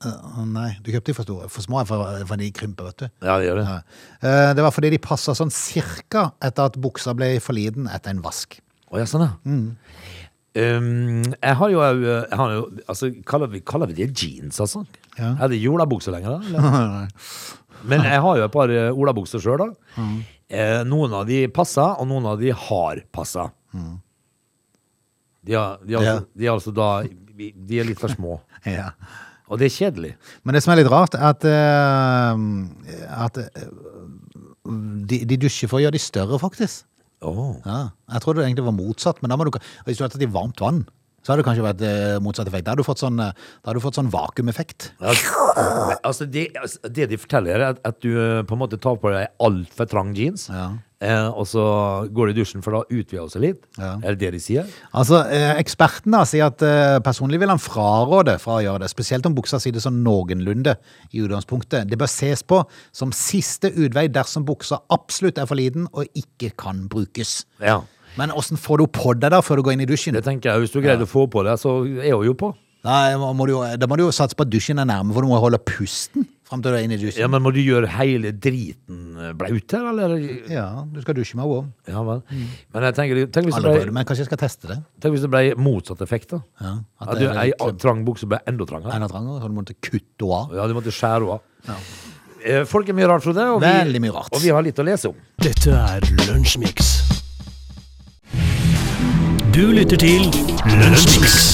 Speaker 1: Eh, Nei, du kjøpte de for store. For små er for, for de krymper, vet du.
Speaker 2: Ja, det gjør det.
Speaker 1: Ja. Eh, Det var fordi de passa sånn cirka etter at buksa ble for liten etter en vask.
Speaker 2: Å ja, sånn ja.
Speaker 1: Mm.
Speaker 2: Um, jeg har jo, jeg har jo altså, kaller, vi, kaller vi det jeans, altså?
Speaker 1: Ja.
Speaker 2: Er det jolabukser lenger, da?
Speaker 1: [laughs]
Speaker 2: eller? Men jeg har jo et par eh, olabukser sjøl, da.
Speaker 1: Mm.
Speaker 2: Eh, noen av de passer, og noen av de har passa. De, har, de,
Speaker 1: Mm. Ja.
Speaker 2: har, altså- de er altså da De er litt for små.
Speaker 1: [laughs] Ja.
Speaker 2: Og det er kjedelig.
Speaker 1: Men det som er litt rart, er at, eh, at eh, de, de dusjer for å gjøre de større, faktisk. Ja, jeg trodde det egentlig var motsatt, men da må du, hvis du hadde tatt i varmt vann, så hadde det kanskje vært eh, motsatt effekt. Da hadde du fått sånn, eh, da hadde du fått sånn vakuumeffekt.
Speaker 2: Men, Altså, det, altså, det de forteller, er at, at du eh, på en måte tar på deg altfor trang jeans,
Speaker 1: Ja.
Speaker 2: eh, og så går du i dusjen, for da utvider hun seg litt.
Speaker 1: Ja.
Speaker 2: Er det det de sier?
Speaker 1: Altså, eh, eksperten da sier at eh, personlig vil han fraråde fra å gjøre det, spesielt om buksa sier det sånn noenlunde i utgangspunktet. Det bør ses på som siste utvei dersom buksa absolutt er for liten og ikke kan brukes.
Speaker 2: Ja.
Speaker 1: Men hvordan får du på deg da før du går inn i dusjen?
Speaker 2: Det tenker jeg, Hvis du greide å få på det, så er hun jo på.
Speaker 1: Nei, må må du, jo- da må du jo satse på at dusjen er nærme, for du må holde pusten frem til du er inne i
Speaker 2: Ja,
Speaker 1: dusjen.
Speaker 2: Men må du gjøre hele driten eh, blaut her, eller?
Speaker 1: Ja, du skal dusje med henne. også.
Speaker 2: Ja vel.
Speaker 1: Mm.
Speaker 2: Men jeg tenker, tenk, hvis det
Speaker 1: Aldri prøvd,
Speaker 2: ble,
Speaker 1: men kanskje jeg skal teste det.
Speaker 2: tenk hvis det ble motsatt effekt, da.
Speaker 1: Ja, at
Speaker 2: At
Speaker 1: det
Speaker 2: du,
Speaker 1: er
Speaker 2: ei
Speaker 1: litt-
Speaker 2: trang bukse ble enda trangere.
Speaker 1: Einar Tranger, så du måtte kutte henne av.
Speaker 2: Ja, du måtte skjære henne av. Eh, Folk er mye rart, Frode. Og
Speaker 1: Veldig mye rart.
Speaker 2: Og vi har litt å lese om.
Speaker 3: Dette er Lunsjmix. Du lytter til Lunsjmix.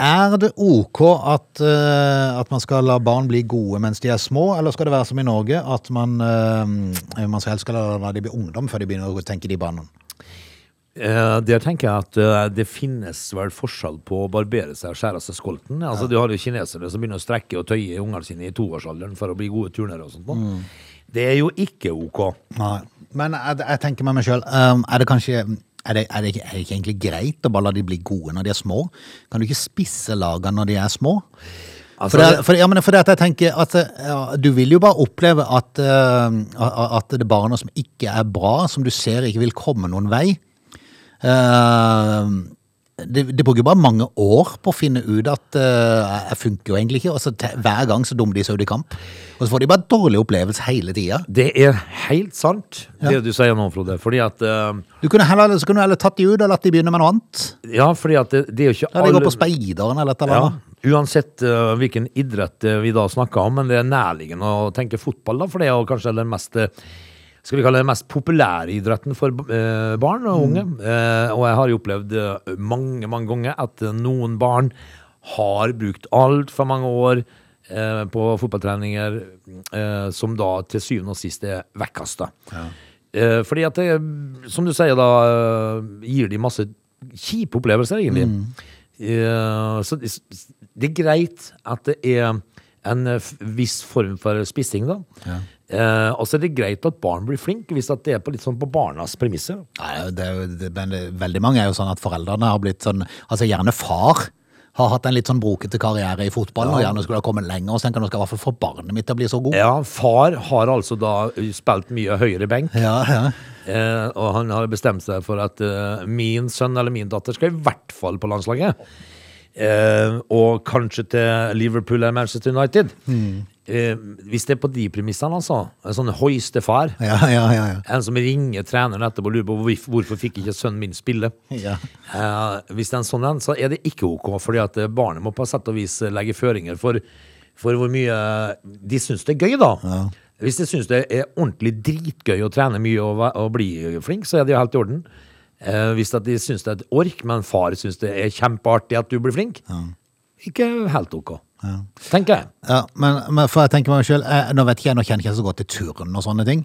Speaker 1: Er det ok at, eh, at man skal la barn bli gode mens de er små, eller skal det være som i Norge, at man, eh, man skal helst skal la- la de bli ungdom før de begynner å tenke de barna?
Speaker 2: Eh, der tenker jeg at eh, det finnes vel forskjell på å barbere seg og skjære av seg skolten. Altså, Du har jo kinesere som begynner å strekke og tøye ungene sine i toårsalderen for å bli gode turnere og sånt. da.
Speaker 1: Mm.
Speaker 2: Det er jo ikke ok.
Speaker 1: Nei. Men jeg, jeg tenker med meg sjøl, er det kanskje er det, er, det ikke, er det ikke egentlig greit å bare la de bli gode når de er små? Kan du ikke spisse lagene når de er små?
Speaker 2: Altså,
Speaker 1: For, det, er- for, ja, men for det at jeg tenker at ja, Du vil jo bare oppleve at, eh, at det er barna som ikke er bra, som du ser ikke vil komme noen vei. Eh, det, det bruker bare mange år på å finne ut at eh, jeg funker jo egentlig ikke. Og så te, hver gang så dummer de seg ut i kamp. Og så får de bare dårlig opplevelse hele tida.
Speaker 2: Det er helt sant, det du sier nå, Frode. Fordi at, eh,
Speaker 1: Du kunne heller, så kunne du heller tatt de ut og latt de begynne med noe annet.
Speaker 2: ja, fordi at det, det er jo ikke
Speaker 1: La de gå på speideren eller et eller
Speaker 2: ja,
Speaker 1: annet.
Speaker 2: Uansett eh, hvilken idrett eh, vi da snakker om, men det er nærliggende å tenke fotball, da, for det er jo kanskje den mest eh, skal vi kalle det den mest populære idretten for eh, barn og unge. Eh, og jeg har jo opplevd eh, mange, mange ganger at eh, noen barn har brukt altfor mange år eh, på fotballtreninger eh, som da til syvende og sist er vekkasta. Eh, fordi at det, som du sier da, eh, gir de masse kjipe opplevelser egentlig. Eh, så det, det er greit at det er en eh, f- viss form for spissing da. Eh, og så er det greit at barn blir flinke hvis at det er på litt sånn på barnas premisser.
Speaker 1: Nei, det er jo, det, men det, veldig mange er jo sånn at foreldrene har blitt sånn Altså gjerne far har hatt en litt sånn brokete karriere i fotballen og gjerne skulle ha kommet lenger. Og så tenker han nå skal jeg i hvert fall få barnet mitt til å bli så god.
Speaker 2: Ja, far har altså da eh, spilt mye høyere benk,
Speaker 1: Ja, ja.
Speaker 2: eh, og han har bestemt seg for at eh, min sønn eller min datter skal i hvert fall på landslaget. Eh, og kanskje til Liverpool eller Manchester United.
Speaker 1: Mm.
Speaker 2: Eh, hvis det er på de premissene, altså. En sånn hoistefar.
Speaker 1: Ja, ja, ja, ja.
Speaker 2: En som ringer treneren etterpå og lurer på hvorf- hvorfor fikk ikke sønnen min spille.
Speaker 1: Ja.
Speaker 2: Eh, hvis det er en sånn en, så er det ikke ok, fordi at eh, barnet må på sett og vis eh, legge føringer for, for hvor mye eh, de syns det er gøy, da. Hvis de syns det er ordentlig dritgøy å trene mye og, væ- og bli flink, så er det jo helt i orden. Eh, hvis at de syns det er et ork, men far syns det er kjempeartig at du blir flink, ikke helt ok, tenker jeg.
Speaker 1: Ja, men, men for jeg tenker meg selv, eh, Nå vet ikke jeg, nå kjenner ikke jeg så godt til turn og sånne ting,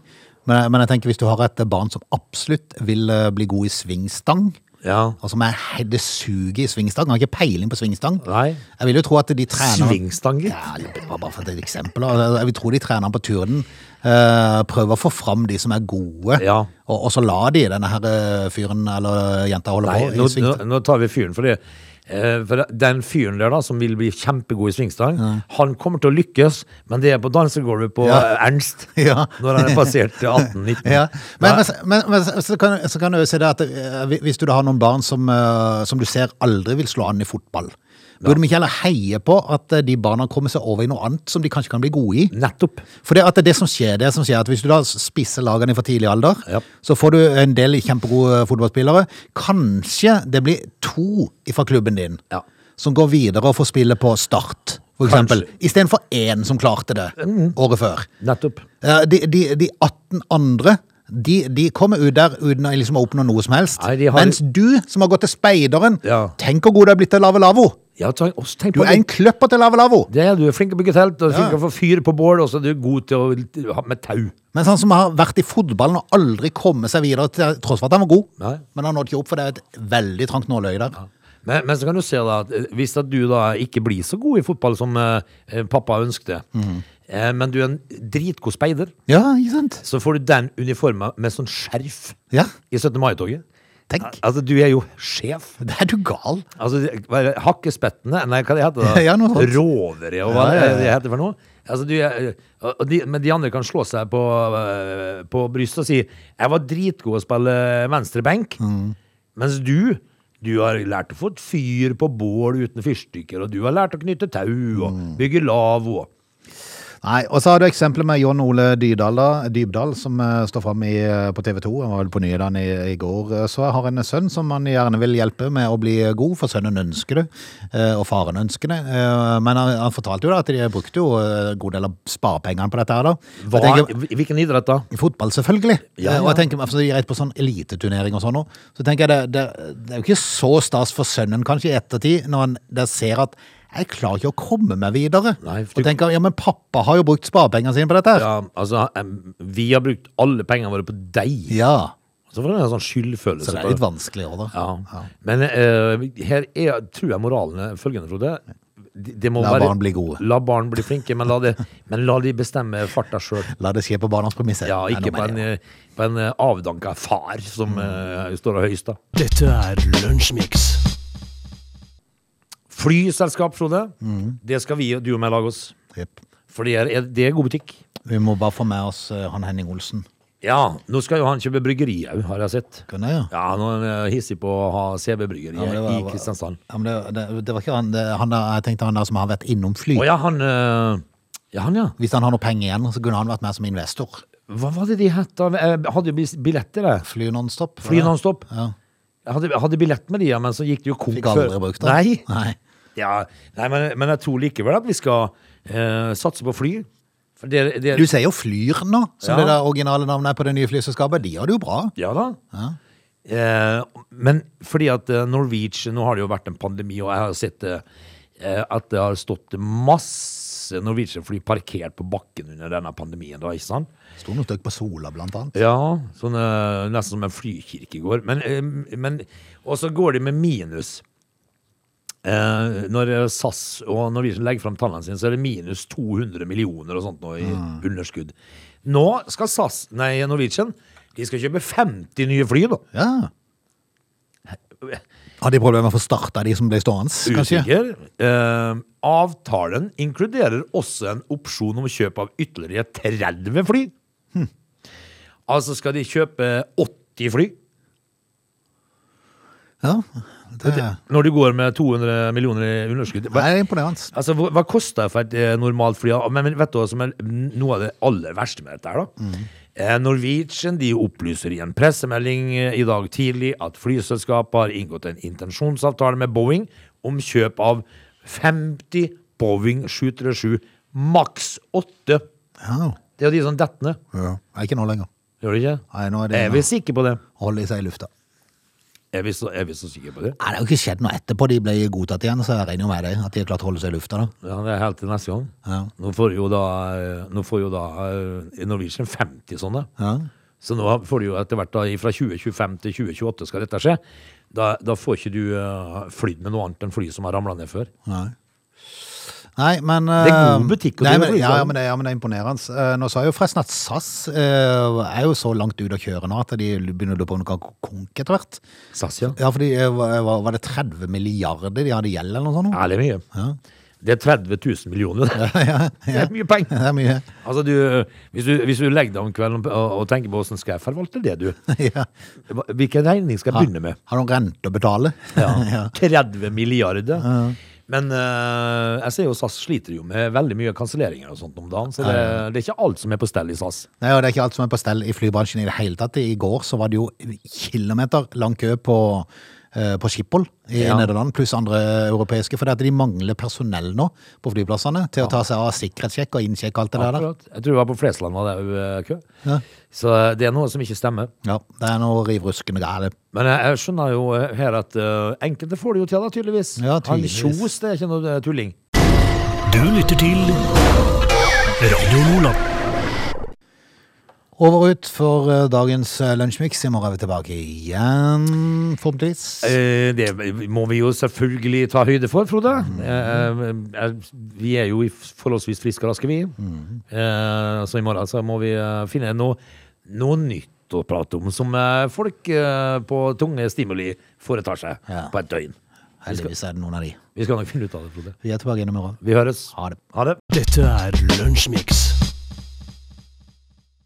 Speaker 1: men, men jeg tenker hvis du har et barn som absolutt vil eh, bli god i svingstang,
Speaker 2: Ja.
Speaker 1: Altså, men he- det suger i svingstang. Han har ikke peiling på svingstang.
Speaker 2: Nei.
Speaker 1: Jeg vil jo tro at de trener
Speaker 2: Svingstang, gitt.
Speaker 1: Ja, det var bare for et eksempel. da. Jeg vil tro de trener på turden. eh, prøver å få fram de som er gode,
Speaker 2: Ja.
Speaker 1: og, og så lar de denne her eh, fyren eller jenta holde
Speaker 2: Nei,
Speaker 1: på. i
Speaker 2: nå, nå,
Speaker 1: svingstang.
Speaker 2: nå tar vi fyren for det. Eh, For den fyren der da, som vil bli kjempegod i svingstang, han kommer til å lykkes, men det er på dansegulvet på
Speaker 1: Ja.
Speaker 2: eh, Ernst.
Speaker 1: [laughs] [laughs] Ja.
Speaker 2: Når han er passert 18-19.
Speaker 1: [laughs] Ja. Men,
Speaker 2: Nei,
Speaker 1: men, men, men så, kan, så kan du jo si det at eh, hvi- hvis du da har noen barn som, eh, som du ser aldri vil slå an i fotball, burde vi ikke heller heie på at eh, de barna kommer seg over i noe annet som de kanskje kan bli gode i?
Speaker 2: Nettopp.
Speaker 1: For det, at det som skjer, det som skjer at hvis du da spisser lagene fra tidlig alder,
Speaker 2: Ja.
Speaker 1: så får du en del kjempegode eh, fotballspillere. Kanskje det blir to fra klubben din
Speaker 2: Ja.
Speaker 1: som går videre og får spille på start, for
Speaker 2: Kanskje. Mm.
Speaker 1: eksempel. Istedenfor én som klarte det året før.
Speaker 2: Nettopp.
Speaker 1: Eh, De, de, de 18 andre de, de kommer ut der uten å liksom oppnå noe som helst.
Speaker 2: Nei, de har-
Speaker 1: Mens du, som har gått til speideren,
Speaker 2: Ja.
Speaker 1: tenk hvor god du er blitt til Lave Lavo!
Speaker 2: Ja, ta- også tenk
Speaker 1: Du
Speaker 2: på
Speaker 1: er
Speaker 2: det.
Speaker 1: en kløpper til Lave Lavo!
Speaker 2: Det er du er flink til å bygge telt, og du er
Speaker 1: Ja.
Speaker 2: flink til å få fyr på bål, og så er du god til å ha med tau.
Speaker 1: Mens han som har vært i fotballen og aldri kommet seg videre, til tross for at han var god,
Speaker 2: Nei.
Speaker 1: men han nådde ikke opp, for det er et veldig trangt nåløye der.
Speaker 2: Men, men så kan du se da at eh, hvis at du da ikke blir så god i fotball som eh, eh, pappa ønskte,
Speaker 1: Mhm.
Speaker 2: eh, men du er en dritgod speider,
Speaker 1: Ja, ikke sant?
Speaker 2: så får du den uniformen med sånn skjerf
Speaker 1: Ja,
Speaker 2: i 17. mai-toget.
Speaker 1: tenk.
Speaker 2: Altså, du er jo sjef.
Speaker 1: Det er du gal.
Speaker 2: Altså, det- hva er det? hakkespettene, nei, hva det heter
Speaker 1: [laughs]
Speaker 2: det?
Speaker 1: Ja, noe sånt.
Speaker 2: Rovere, og hva
Speaker 1: Ja, ja, ja.
Speaker 2: det- det heter for noe. Altså, du er, og de, men de andre kan slå seg på, eh, på brystet og si «Jeg var dritgod å spille venstre benk»,
Speaker 1: Mm.
Speaker 2: mens du, du har lært å få et fyr på bål uten fyrstykker, og du har lært å knytte tau og
Speaker 1: Mm.
Speaker 2: bygge lavo. og-
Speaker 1: Nei, og så har du eksempelet med John Ole Dybdahl, da, Dybdahl som eh, står fram i, eh, på TV 2. Han var vel på Nyhetene i, i går. Eh, Så har han en sønn som han gjerne vil hjelpe med å bli eh, god, for sønnen ønsker det, eh, og faren ønsker det. Eh, Men han, han fortalte jo da at de brukte jo eh, en god del av sparepengene på dette her, da. Jeg
Speaker 2: Hva,
Speaker 1: tenker-
Speaker 2: hvilken idrett da?
Speaker 1: I Fotball, selvfølgelig.
Speaker 2: Ja,
Speaker 1: Eh, Og jeg
Speaker 2: ja.
Speaker 1: tenker, altså, jeg er på sånn eliteturnering og sånn nå, så tenker jeg det, det, det er jo ikke så stas for sønnen kanskje i ettertid, når han der ser at jeg klarer ikke å komme meg videre.
Speaker 2: Nei, for
Speaker 1: og
Speaker 2: du-
Speaker 1: tenker, ja, men pappa har jo brukt sparepengene sine på dette her.
Speaker 2: Ja, altså, em, vi har brukt alle pengene våre på deg.
Speaker 1: Ja.
Speaker 2: Så får du en sånn skyldfølelse.
Speaker 1: Så det
Speaker 2: på-
Speaker 1: er litt vanskelig også da.
Speaker 2: Ja. Men eh, her er, tror jeg moralen er følgende, Frode. Det, det må
Speaker 1: La
Speaker 2: være-
Speaker 1: barn bli gode.
Speaker 2: La barn bli flinke, men la, det,
Speaker 1: [laughs]
Speaker 2: men la de bestemme farta sjøl.
Speaker 1: La det skje på barnas premisser.
Speaker 2: Ja,
Speaker 1: Nei,
Speaker 2: ikke
Speaker 1: nå
Speaker 2: på
Speaker 1: mener
Speaker 2: en,
Speaker 1: jeg.
Speaker 2: eh, på en eh, avdanka far som
Speaker 1: Mm.
Speaker 2: eh, står og høyst, da.
Speaker 3: Dette er Lunsjmix.
Speaker 2: Flyselskap, Frode.
Speaker 1: Mm.
Speaker 2: Det skal vi, du og meg lage oss.
Speaker 1: Jepp.
Speaker 2: For det er, det er god butikk.
Speaker 1: Vi må bare få med oss eh, han Henning Olsen.
Speaker 2: Ja, nå skal jo han kjøpe bryggeri òg, har jeg sett.
Speaker 1: Kunne jeg, ja.
Speaker 2: Ja, han er eh, hissig på å ha CB-bryggeri
Speaker 1: Ja, men det var-
Speaker 2: i Kristiansand.
Speaker 1: Ja, men det, det, det var ikke han, det, han der, jeg tenkte han der som har vært innom fly.
Speaker 2: Å ja, han eh, Ja, han, ja.
Speaker 1: Hvis han har noe penger igjen, så kunne han vært med som investor.
Speaker 2: Hva var det de het? da? Jeg Hadde jo bis- billetter, eh. det.
Speaker 1: Fly nonstop.
Speaker 2: Fly nonstop.
Speaker 1: Ja.
Speaker 2: Jeg hadde, jeg hadde billett med de, ja, men så gikk det jo konk
Speaker 1: Fikk aldri brukt det.
Speaker 2: Nei,
Speaker 1: Nei.
Speaker 2: ja, nei men, men jeg tror likevel at vi skal eh, satse på fly. For det, det,
Speaker 1: Du sier jo Flyr nå, som
Speaker 2: Ja.
Speaker 1: det der originale navnet er på det nye flyselskapet. De har det jo bra.
Speaker 2: Ja da. Eh, men fordi at eh, Norwegian Nå har det jo vært en pandemi, og jeg har sett eh, eh, at det har stått masse Norwegian-fly parkert på bakken under denne pandemien. da, ikke sant?
Speaker 1: Sto noe støkk på Sola, blant annet.
Speaker 2: Ja, sånn, eh, nesten som en flykirke går. Men, eh, men Og så går de med minus. Eh, når SAS og Norwegian legger fram tallene sine, så er det minus 200 millioner og sånt nå i underskudd. Nå skal SAS, nei Norwegian de skal kjøpe 50 nye fly, da.
Speaker 1: Ja. Har de problemer med å få starta de som ble stående, kanskje?
Speaker 2: Usikker. Eh, avtalen inkluderer også en opsjon om kjøp av ytterligere 30 fly. Altså skal de kjøpe 80 fly.
Speaker 1: Ja. Det,
Speaker 2: Når du går med 200 millioner i underskudd
Speaker 1: det
Speaker 2: hva,
Speaker 1: er imponerende.
Speaker 2: altså, hva, hva koster det for et eh, normalt fly? Ja, Men men vet du hva som er noe av det aller verste med dette her da? Eh, Norwegian de opplyser i en pressemelding eh, i dag tidlig at flyselskapet har inngått en intensjonsavtale med Boeing om kjøp av 50 Boeing 737 maks 8.
Speaker 1: Ja.
Speaker 2: Det er jo de som detter ned.
Speaker 1: ja. Er ikke nå lenger.
Speaker 2: Gjør det ikke?
Speaker 1: Nei, nå er det-
Speaker 2: er vi sikker på det?
Speaker 1: Holder de seg i lufta.
Speaker 2: Er vi så, er vi så sikker på det?
Speaker 1: Nei, det har jo ikke skjedd noe etterpå de ble godtatt igjen, så jeg regner jo med det. At de har klart å holde seg i lufta, da.
Speaker 2: Ja, det er helt til neste gang.
Speaker 1: Ja.
Speaker 2: Nå får jo da, eh, nå får jo da eh, Norwegian 50 sånne.
Speaker 1: Ja.
Speaker 2: Så nå får du jo etter hvert da, fra 2025 til 2028 skal dette skje. Da, da får ikke du eh, flydd med noe annet enn fly som har ramla ned før.
Speaker 1: Nei. Nei, men
Speaker 2: Det er god
Speaker 1: eh,
Speaker 2: butikk å
Speaker 1: nei,
Speaker 2: drive
Speaker 1: men, ja,
Speaker 2: på, liksom.
Speaker 1: ja, men det, ja, men det er imponerende. Eh, Nå sa jeg jo forresten at SAS eh, er jo så langt ute å kjøre nå at de begynner å lure på om de kan konke etter hvert.
Speaker 2: SAS, ja.
Speaker 1: Ja, fordi eh, hva- hva- Var det 30 milliarder de hadde gjeld, eller noe sånt? nå?
Speaker 2: Ærlig mye. Det er 30 000 millioner. Det er mye penger.
Speaker 1: [laughs] Det er mye.
Speaker 2: Altså, du, hvis, du, hvis du legger deg om kvelden og, og tenker på hvordan skal jeg forvalte det,
Speaker 1: [laughs]
Speaker 2: du?
Speaker 1: ja.
Speaker 2: Hva- Hvilken regning skal jeg begynne med?
Speaker 1: Har noen rente å betale? [laughs]
Speaker 2: [laughs] Ja, 30 milliarder. Men eh, jeg ser jo SAS sliter jo med veldig mye kanselleringer og sånt om dagen, så det, det er ikke alt som er på stell i SAS.
Speaker 1: Nei, og Det er ikke alt som er på stell i flybransjen i det hele tatt. I går så var det jo kilometer lang kø på, eh, på Schiphol i
Speaker 2: Ja.
Speaker 1: Nederland, pluss andre europeiske, fordi at de mangler personell nå på flyplassene til å ta seg av sikkerhetssjekk og innsjekk og alt det der.
Speaker 2: Akkurat. Jeg tror det var på Flesland var det jo, eh, kø.
Speaker 1: Ja.
Speaker 2: Så det er noe som ikke stemmer.
Speaker 1: Ja, Det er noe rivruskende galt.
Speaker 2: Men jeg, jeg skjønner jo eh, her at eh, enkelte får det jo til, da, tydeligvis.
Speaker 1: Ja, tydeligvis.
Speaker 2: Han Kjos, det er ikke noe eh, tulling.
Speaker 3: Du lytter til Radio Lola.
Speaker 1: Over og ut for eh, dagens eh, lunsjmix. I morgen er vi tilbake igjen, forhåpentligvis.
Speaker 2: Eh, Det må vi jo selvfølgelig ta høyde for, Frode.
Speaker 1: Mm.
Speaker 2: Eh, eh, Vi er jo i forholdsvis friske og raske, vi.
Speaker 1: Mm.
Speaker 2: Eh, Så i morgen så må vi eh, finne noe, noe nytt å prate om som eh, folk eh, på tunge stimuli foretar seg
Speaker 1: Ja.
Speaker 2: på et døgn.
Speaker 1: Heldigvis er det noen av de.
Speaker 2: Vi skal nok finne ut av det, Frode.
Speaker 1: Vi er tilbake igjen i morgen.
Speaker 2: Vi høres.
Speaker 1: Ha det.
Speaker 2: Ha det.
Speaker 3: Dette er Lunsjmix.